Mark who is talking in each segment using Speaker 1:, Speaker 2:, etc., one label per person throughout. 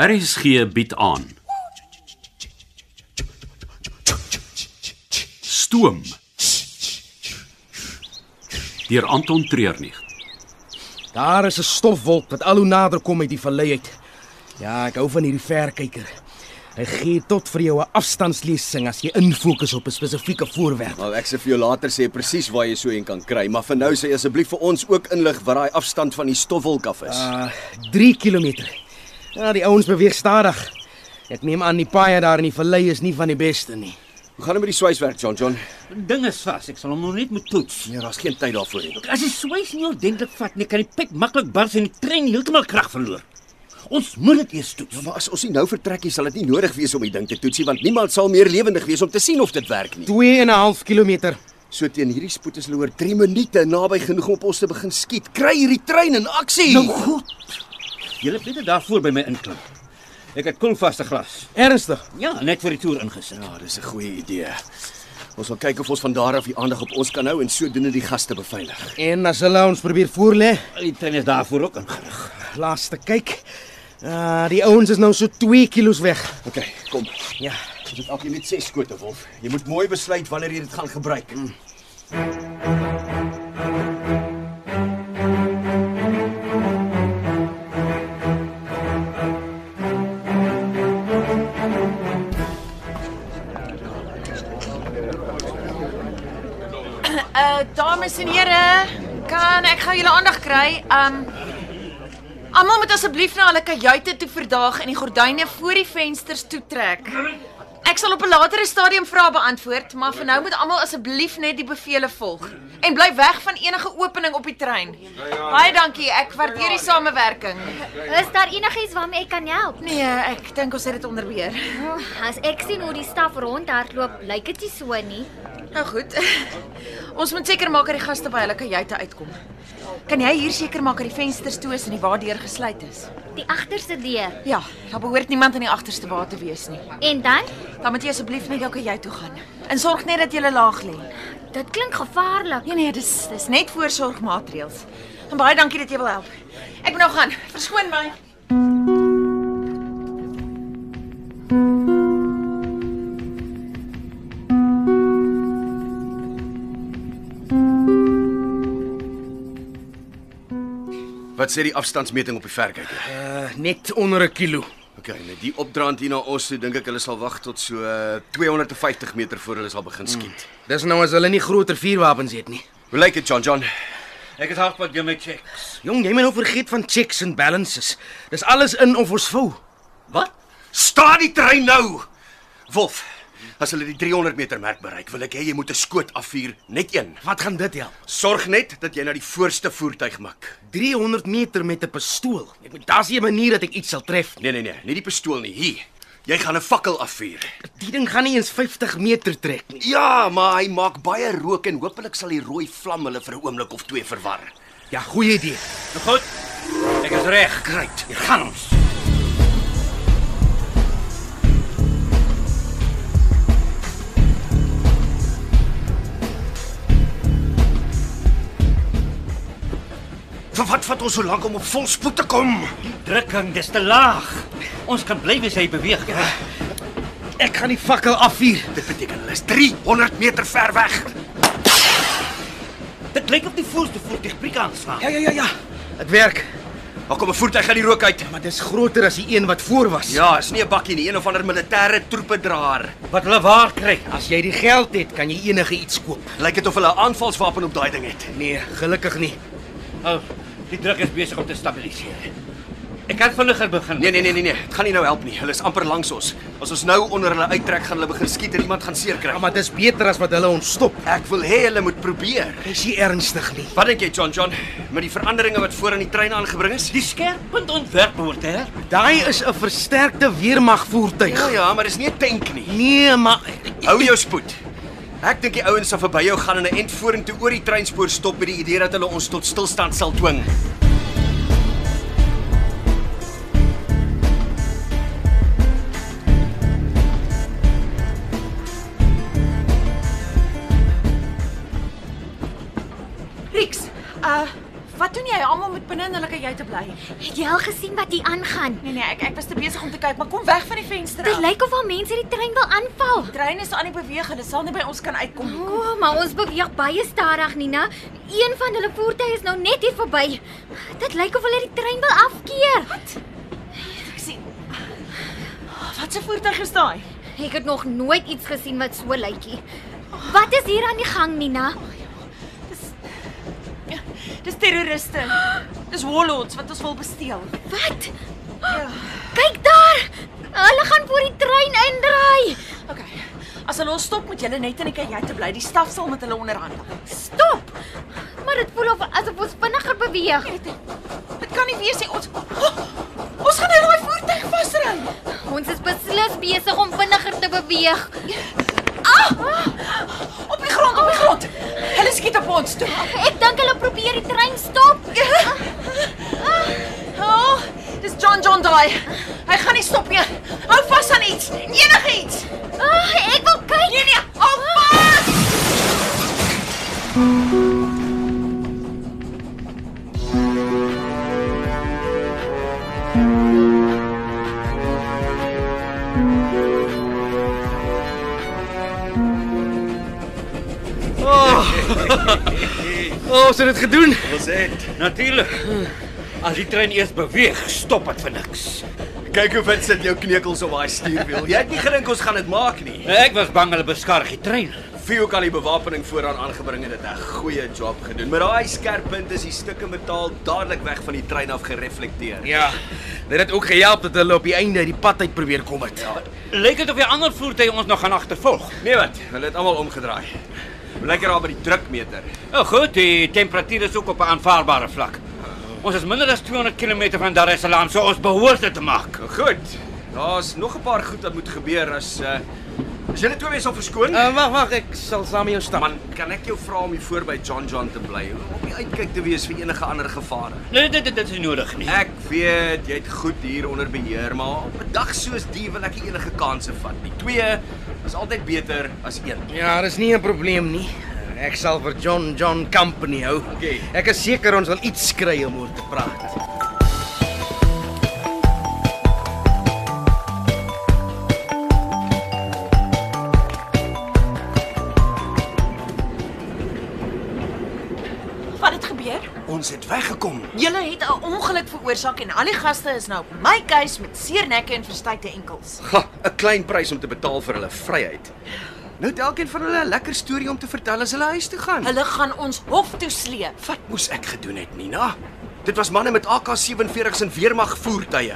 Speaker 1: RSG bied aan. Stoom. Deur Anton Treurnig.
Speaker 2: Daar is 'n stofwolk wat al hoe nader kom uit die vallei uit. Ja, ek hou van hierdie verkyker. Hy gee tot vir jou 'n afstandslesing as jy infokus op 'n spesifieke voorwerp.
Speaker 3: Maar Nou, ek sê vir jou later sê presies waar jy so een kan kry, maar vir nou sê asseblief vir ons ook inlig wat daai afstand van die stofwolk af is.
Speaker 2: Uh 3 km. Ja, die ouens beweeg stadig. Ek neem aan die paaie daar in die vallei is nie van die beste nie.
Speaker 3: Hoe gaan dit met die swaiswerk, John John?
Speaker 4: Ding is vas, ek sal hom nog net moet toets.
Speaker 3: Nee, daar's geen tyd daarvoor nie.
Speaker 4: As die swys nie ordentlik vat nie, kan die pyp maklik bars en die trein heeltemal krag verloor. Ons moet dit eers toets.
Speaker 3: Maar as ons nie nou vertrek nie, sal dit nie nodig wees om die ding te toetsie want niemand sal meer lewendig wees om te sien of dit werk nie.
Speaker 2: 2.5 km.
Speaker 3: So teen hierdie spoed is hulle oor 3 minute naby genoeg om op ons te begin skiet. Kry hierdie trein in aksie.
Speaker 4: Nou goed. Julle het beter daarvoor by my inklim. Ek het koelvaste glas.
Speaker 2: Ernstig.
Speaker 4: Ja, net vir die toer ingesit.
Speaker 3: ja, dis 'n goeie idee. Ons sal kyk of ons van daar af die aandag op ons kan hou en sodoende die gaste beveilig.
Speaker 2: En as hulle ons probeer voorlê,
Speaker 4: Die trein is daarvoor ook ingerig.
Speaker 2: laaste kyk. Uh die ouens is nou so 2 kilos weg.
Speaker 3: OK, kom.
Speaker 2: Ja.
Speaker 3: Ons het elkeen net 6 skote wolf. Jy moet mooi besluit wanneer jy dit gaan gebruik. Mm.
Speaker 5: Uh dames en here, kan ek gou julle aandag kry? Um Almal moet asseblief na hulle kajuite toe verdaag en die gordyne voor die vensters toe trek. Ek sal op 'n latere stadium vrae beantwoord, maar vir nou moet almal asseblief net die bevele volg en bly weg van enige opening op die trein. Baie dankie, ek waardeer die samewerking.
Speaker 6: Is daar enigiets waarmee ek kan help?
Speaker 5: Nee, ek dink ons het dit onder beheer.
Speaker 6: Oh, as ek sien hoe die staf rondhardloop, lyk dit nie so nie.
Speaker 5: Nou goed. Ons moet seker maak dat die gaste by hulle kajuite uitkom. Kan jy hier seker maak dat die vensters toe is en die waardeur gesluit is?
Speaker 6: Die agterste deur.
Speaker 5: Ja, daar behoort niemand in die agterste wa te wees nie.
Speaker 6: En dan?
Speaker 5: Dan moet jy asseblief net jou kajuit toe gaan. En sorg net dat jy laag lê.
Speaker 6: Dit klink gevaarlik.
Speaker 5: Nee nee, dis dis net voorsorgmaatreëls. En baie dankie dat jy wil help. Ek moet nou gaan. Verskoon my.
Speaker 3: Wat sê die afstandsmeting op die verkyker?
Speaker 2: Uh net onder 'n kilo.
Speaker 3: Okay, met die opdraand hier na ons toe dink ek hulle sal wag tot so eh, 250 meter voor hulle sal begin skiet. Mm.
Speaker 2: Dis nou as hulle nie groter vuurwapens het nie.
Speaker 3: Hoe lyk dit, John John?
Speaker 4: Ek het halfpad jy my checks.
Speaker 2: Jong, jy moet nou vergeet van checks and balances. Dis alles in of ons vou.
Speaker 4: Wat?
Speaker 3: Sta die trein nou. Wolf, as hulle die 300 meter merk bereik, wil ek hê jy moet 'n skoot afvuur, net een.
Speaker 2: Wat gaan dit help?
Speaker 3: Sorg net dat jy na die voorste voertuig mik.
Speaker 2: 300 meter met 'n pistool. Ek moet daar's 'n manier dat ek iets sal tref.
Speaker 3: Nee nee nee, nie die pistool nie, hier. Jy gaan 'n fakkel afvuur.
Speaker 2: Die ding gaan nie eens 50 meter trek nie.
Speaker 3: Ja, maar hy maak baie rook en hopelik sal die rooi vlam hulle vir 'n oomblik of twee verwar.
Speaker 2: Ja, goeie idee.
Speaker 4: Nou goed. Ek is reg.
Speaker 3: Kryt.
Speaker 4: Hier gaan ons.
Speaker 3: Vir wat vat ons so lank om op volspoed te kom?
Speaker 4: Drukking, dis te laag. Ons kan bly as hy beweeg.
Speaker 2: Ek gaan die fakkel afvuur.
Speaker 3: Dit beteken hulle is 300 meter ver weg.
Speaker 4: Dit lyk of die voorste voertuig prik aanslaan.
Speaker 2: Ja, ja, ja, ja. Dit werk,
Speaker 3: Daar kom 'n voertuig uit die rook uit.
Speaker 2: maar dis groter as die een wat voor was.
Speaker 3: Ja, is nie 'n bakkie nie, een of ander militêre troepedraer.
Speaker 4: Wat hulle waar kry.
Speaker 2: As jy die geld het, kan jy enige iets koop.
Speaker 3: Lyk dit of hulle 'n aanvalswapen op daai ding het.
Speaker 2: Nee, gelukkig nie.
Speaker 4: Al Oh, die druk is besig om te stabiliseer. Ek kan vinniger begin.
Speaker 3: Nee nee nee nee nee, dit gaan nie nou help nie. Hulle is amper langs ons. As ons nou onder hulle uittrek, gaan hulle begin skiet en iemand gaan seer
Speaker 2: Ja,
Speaker 3: kry.
Speaker 2: maar dis beter as wat hulle ons stop.
Speaker 3: Ek wil hê hulle moet probeer.
Speaker 2: Dis nie ernstig nie.
Speaker 3: Wat dink jy, John John, met die veranderinge wat voor aan die trein aangebring is?
Speaker 4: Die skerpunt ontwerp word hè.
Speaker 2: Daai is 'n versterkte weermag voertuig.
Speaker 3: Ja ja, maar dis nie 'n tank nie.
Speaker 2: Nee, maar
Speaker 3: Hou jou spoed. Ek dink die ouens sal verby jou gaan en 'n ent vorentoe oor die treinspoor stop met die idee dat hulle ons tot stilstand sal dwing.
Speaker 5: Rieks, uh Wat doen jy? Almal moet binne in hulle kajuite bly.
Speaker 6: Het jy al gesien wat hier aangaan?
Speaker 5: Nee nee, ek ek was te besig om te kyk, maar kom weg van die venster
Speaker 6: Dit
Speaker 5: af.
Speaker 6: lyk of al mense die trein wil aanval.
Speaker 5: Trein is aan die beweeg, hulle sal nie by ons kan uitkom nie.
Speaker 6: O, oh, maar ons beweeg baie stadig, Nina. Een van hulle voertuie is nou net hier verby. Dit lyk of hulle die trein wil afkeer. Wat?
Speaker 5: Ek sien. Ah, Wat 'n voertuig is daai?
Speaker 6: Ek het nog nooit iets gesien wat so lyk nie. Wat is hier aan die gang, Nina?
Speaker 5: Dis terroriste. Dis warlords wat ons wil besteel.
Speaker 6: Wat?
Speaker 5: Ja.
Speaker 6: Kyk daar! Hulle gaan voor die trein indraai.
Speaker 5: Okay. As hulle ons stop, moet julle net in die kajuite bly. Die staf sal met hulle onderhandel.
Speaker 6: Stop! Maar dit voel of asof ons vinniger beweeg.
Speaker 5: Dit kan nie wees nie. Ons oh, Ons gaan nou daai voertuig vasry.
Speaker 6: Ons is beslis besig om vinniger te beweeg.
Speaker 5: Op die grond, op die grond. Hulle skiet op ons toe.
Speaker 6: Ek dink hulle probeer die trein stop.
Speaker 5: Oh, dis John John daai. Hy gaan nie stop nie. Hou vas aan iets, enigiets.
Speaker 6: Ah, ek wil kyk. Nee nee, hou vas.
Speaker 2: O, oh, so dit gedoen.
Speaker 4: Ons het natuurlik. As die trein eers beweeg, stop dit vir niks.
Speaker 3: Kyk hoe wit sit jou kneukels op daai stuurwiel. Jy het nie gedink ons gaan dit maak nie.
Speaker 4: Ek Nee, was bang hulle beskadig die trein.
Speaker 3: Vio kan die bewapening vooraan aangebring het, het 'n goeie job gedoen. Maar daai skerp punt is die stukke metaal dadelik weg van die trein af gereflekteer.
Speaker 2: Ja. Dit het ook gehelp dat hulle op die einde uit die pad uit probeer kom het.
Speaker 4: Lyk dit of die ander voertuie ons nog gaan agtervolg.
Speaker 3: Ja, Nee wat, hulle het almal omgedraai. Hoe Lekker daar by die drukmeter.
Speaker 4: Nou goed, die temperatuur is ook op 'n aanvaarbare vlak. Ons is minder as 200 km van Dar es Salaam, so ons behoort dit te maak.
Speaker 3: Goed. Daar's nog 'n paar goed wat moet gebeur as uh as julle twee mense al verskoon.
Speaker 2: Uh, wag, wag, ek sal saam met jou stap.
Speaker 3: Man, kan ek jou vra om hier voor by John John te bly? Om op die uitkyk te wees vir enige ander gevare.
Speaker 4: Nee, dit dit, dit is nie nodig nie.
Speaker 3: Ek weet jy het goed hier onder beheer, maar op 'n dag soos die wil ek nie enige kanse vat nie. Twee is altyd beter as een.
Speaker 2: Ja, dis nie 'n probleem nie. Ek sal vir John John Company hou.
Speaker 3: Okay.
Speaker 2: Ek is seker ons sal iets kry om oor te praat.
Speaker 5: Wat het gebeur?
Speaker 3: Ons het weggekom.
Speaker 5: Julle het 'n ongeluk veroorsaak en al die gaste is nou op my keuse met seer nekke en verstykte enkels.
Speaker 3: Ha, 'n klein prys om te betaal vir hulle vryheid. Nou het elkeen van hulle 'n lekker storie om te vertel as hulle huis toe gaan.
Speaker 5: Hulle gaan ons hof toe sleep.
Speaker 3: Wat moes ek gedoen het, Nina? Dit was manne met AK47s en weermag voertuie.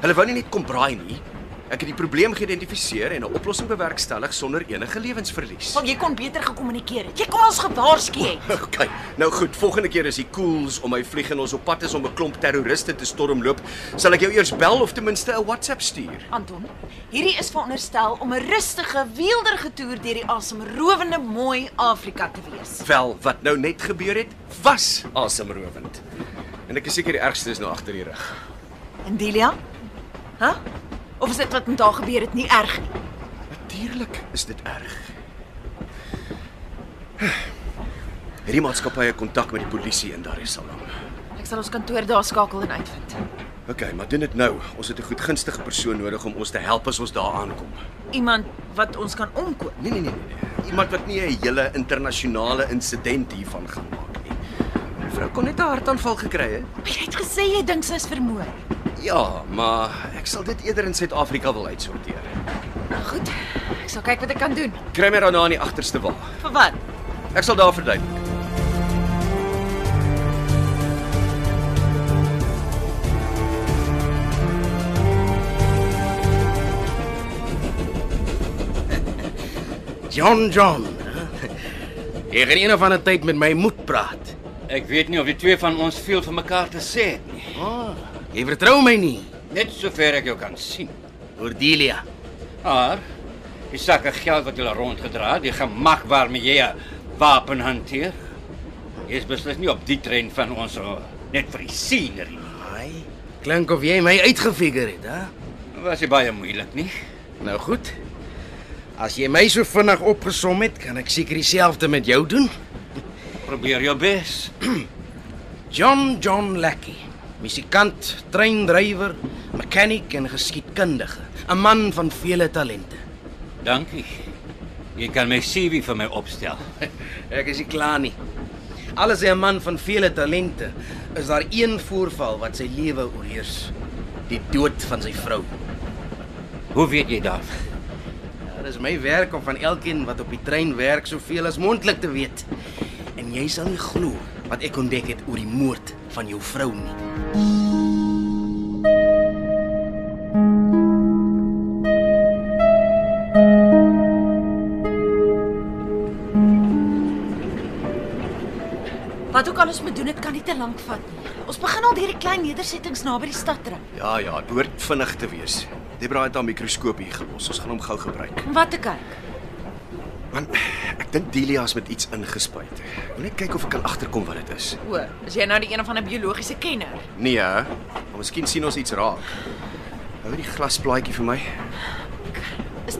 Speaker 3: Hulle wou nie net kom braai nie. Ek het die probleem geïdentifiseer en 'n oplossing bewerkstellig sonder enige lewensverlies.
Speaker 5: Sal jy kon beter gekommunikeer het. Jy kon ons gewaarsku het.
Speaker 3: Okay, nou goed, volgende keer as die koels om my vlieg en ons op pad is om 'n klomp terroriste te stormloop, sal ek jou eers bel of ten minste 'n WhatsApp stuur.
Speaker 5: Anton, hierdie is veronderstel om 'n rustige, weelderige toer deur die asemrowende mooi Afrika te wees.
Speaker 3: Wel, wat nou net gebeur het, was asemrowend. En ek is seker die ergste is nou agter die rug.
Speaker 5: En Delia? Hæ? Huh? Of is dit wat met haar gebeur het nie erg nie?
Speaker 3: Natuurlik is dit erg. Hierdie maatskappy het kontak met die polisie in Dar es Salaam.
Speaker 5: Ek sal ons kantoor daar skakel en uitvind.
Speaker 3: OK, maar doen dit nou. Ons het 'n goedgunstige persoon nodig om ons te help as ons daar aankom.
Speaker 5: Iemand wat ons kan omkoop.
Speaker 3: Nee nee nee nee. nee. Iemand wat nie 'n hele internasionale insident hiervan gaan maak nie. Mevrou kon net 'n hartaanval gekry het.
Speaker 5: Maar jy het gesê jy dink sy is vermoor.
Speaker 3: Ja, maar ek sal dit eerder in Suid-Afrika wil uitsorteer.
Speaker 5: Nou Goed. Ek sal kyk wat ek kan doen.
Speaker 3: Kry my daarna in die agterste wa.
Speaker 5: Vir wat?
Speaker 3: Ek sal daar verduidelik.
Speaker 2: John John. Jy gaan eendag van 'n tyd met my moet praat.
Speaker 4: Ek weet nie of die twee van ons veel van mekaar te sê het nie.
Speaker 2: Jy vertrou my nie,
Speaker 4: Net sover ek jou kan sien.
Speaker 2: Cordelia.
Speaker 4: Maar die sakke geld wat hulle rondgedra het, die gemak waarmee jy 'n wapen hanteer, is beslis nie op die trein van ons oh, net vir die scenery nie.
Speaker 2: Ai, klink of jy my uitgefigure het, hè?
Speaker 4: Dit Was nie baie moeilik nie.
Speaker 2: Nou goed. As jy my so vinnig opgesom het, kan ek seker dieselfde met jou doen.
Speaker 4: Probeer jou bes.
Speaker 2: John John Lackey, musikant, treindrywer, mechanic en geskiedkundige, 'n man van vele talente.
Speaker 4: Dankie. Jy kan my CV vir my opstel.
Speaker 2: Ek is nie klaar nie. Alles 'n man van vele talente, is daar een voorval wat sy lewe oorheers, die dood van sy vrou.
Speaker 4: Hoe weet jy daarvan?
Speaker 2: Dit is my werk om van elkeen wat op die trein werk soveel as moontlik te weet. En jy sal nie glo wat ek ontdek het oor die moord van jou vrou nie.
Speaker 5: Wat ook al ons moet doen, dit kan nie te lank vat nie. Ons begin al hierdie klein nedersettings naby die stad dring.
Speaker 3: Ja ja, dit behoort vinnig te wees. Debra het haar mikroskoop hier gelos. Ons gaan hom gou gebruik.
Speaker 5: Om wat te kyk?
Speaker 3: Man, ek dink Delia is met iets ingespuit. Moet net kyk of ek kan agterkom wat dit is.
Speaker 5: O, is jy nou die een van 'n biologiese kenner?
Speaker 3: Nee, hè? maar miskien sien ons iets raak. Hou die glasplaatjie vir my.
Speaker 5: Is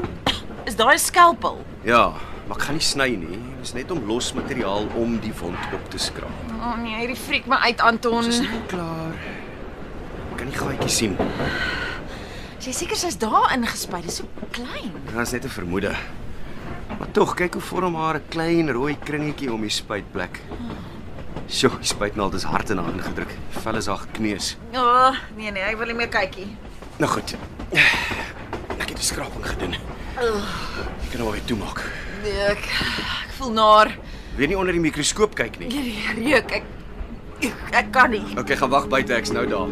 Speaker 5: is daai 'n skalpel?
Speaker 3: Ja, maar ek gaan nie sny nie. Dit is net om los materiaal om die wond op te skraap.
Speaker 5: O oh, nee, hierdie friek my uit Anton.
Speaker 3: Ons is nie klaar. Ek kan die gaatjie sien.
Speaker 5: Sy seker sy's daar ingespuit, dis so klein.
Speaker 3: Dit is net 'n vermoede. Maar tog, kyk hoe vorm haar 'n klein rooi kringetjie om die spuitplek. Sjoe, die spuitnaald is hard in haar ingedruk. Die Vel is haar gekneus.
Speaker 5: O, oh, nee nee, ek wil nie meer kykie.
Speaker 3: Nou goed. Ek het die skraping gedoen. Ek kan hom weer toemaak.
Speaker 5: Nee, ek ek voel naar.
Speaker 3: Weer nie onder die mikroskoop kyk nie.
Speaker 5: Hierdie reuk, ek ek, ek kan nie.
Speaker 3: Okay, gaan wag buite, ek's nou daar.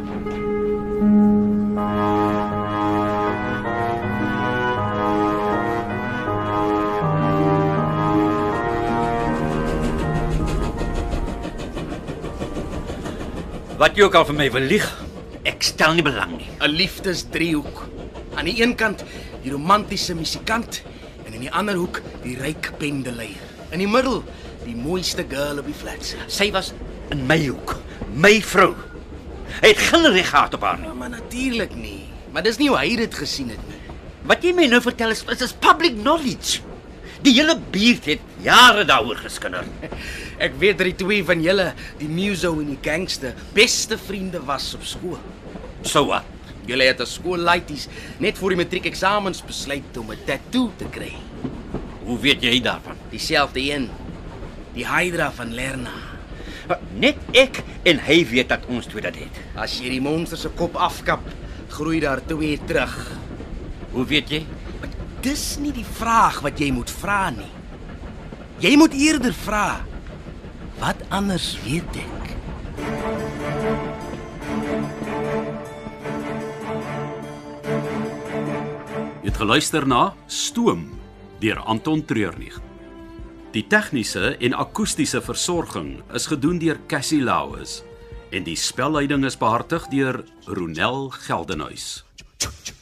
Speaker 4: Wat jy ook al vir my wil lieg, ek stel nie belang nie.
Speaker 2: 'n Liefdesdriehoek. Aan die een kant die romantiese musikant en aan die ander hoek die ryk pendeleier. In die middel die mooiste girl op die flats.
Speaker 4: Sy was in my hoek, my vrou. Hy het geen reg gehad op haar nie.
Speaker 2: Ja, maar natuurlik nie. Maar dis nie hoe hy dit gesien het nie.
Speaker 4: Wat jy my nou vertel is is, is public knowledge. Die hele buurt het jare daaroor geskinder.
Speaker 2: Ek weet dat die twee van julle, die Muso en die Gangster, beste vriende was op skool.
Speaker 4: So wat?
Speaker 2: Julle het as skoollaities net voor die matriekeksamens besluit om 'n tatoe te kry.
Speaker 4: Hoe weet jy daarvan?
Speaker 2: Dieselfde een. Die Hydra van Lerna.
Speaker 4: Net ek en hy weet dat ons twee dit het.
Speaker 2: As jy die monster se kop afkap, groei daar twee terug.
Speaker 4: Hoe weet jy?
Speaker 2: Maar dis nie die vraag wat jy moet vra nie. Jy moet eerder vra: Wat anders weet ek?
Speaker 1: Jy het geluister na Stoom deur Anton Treurnig. Die tegniese en akoestiese versorging is gedoen deur Cassie Lauis en die spelleiding is behartig deur Ronel Geldenhuys.
Speaker 3: Tjoe, tjoe.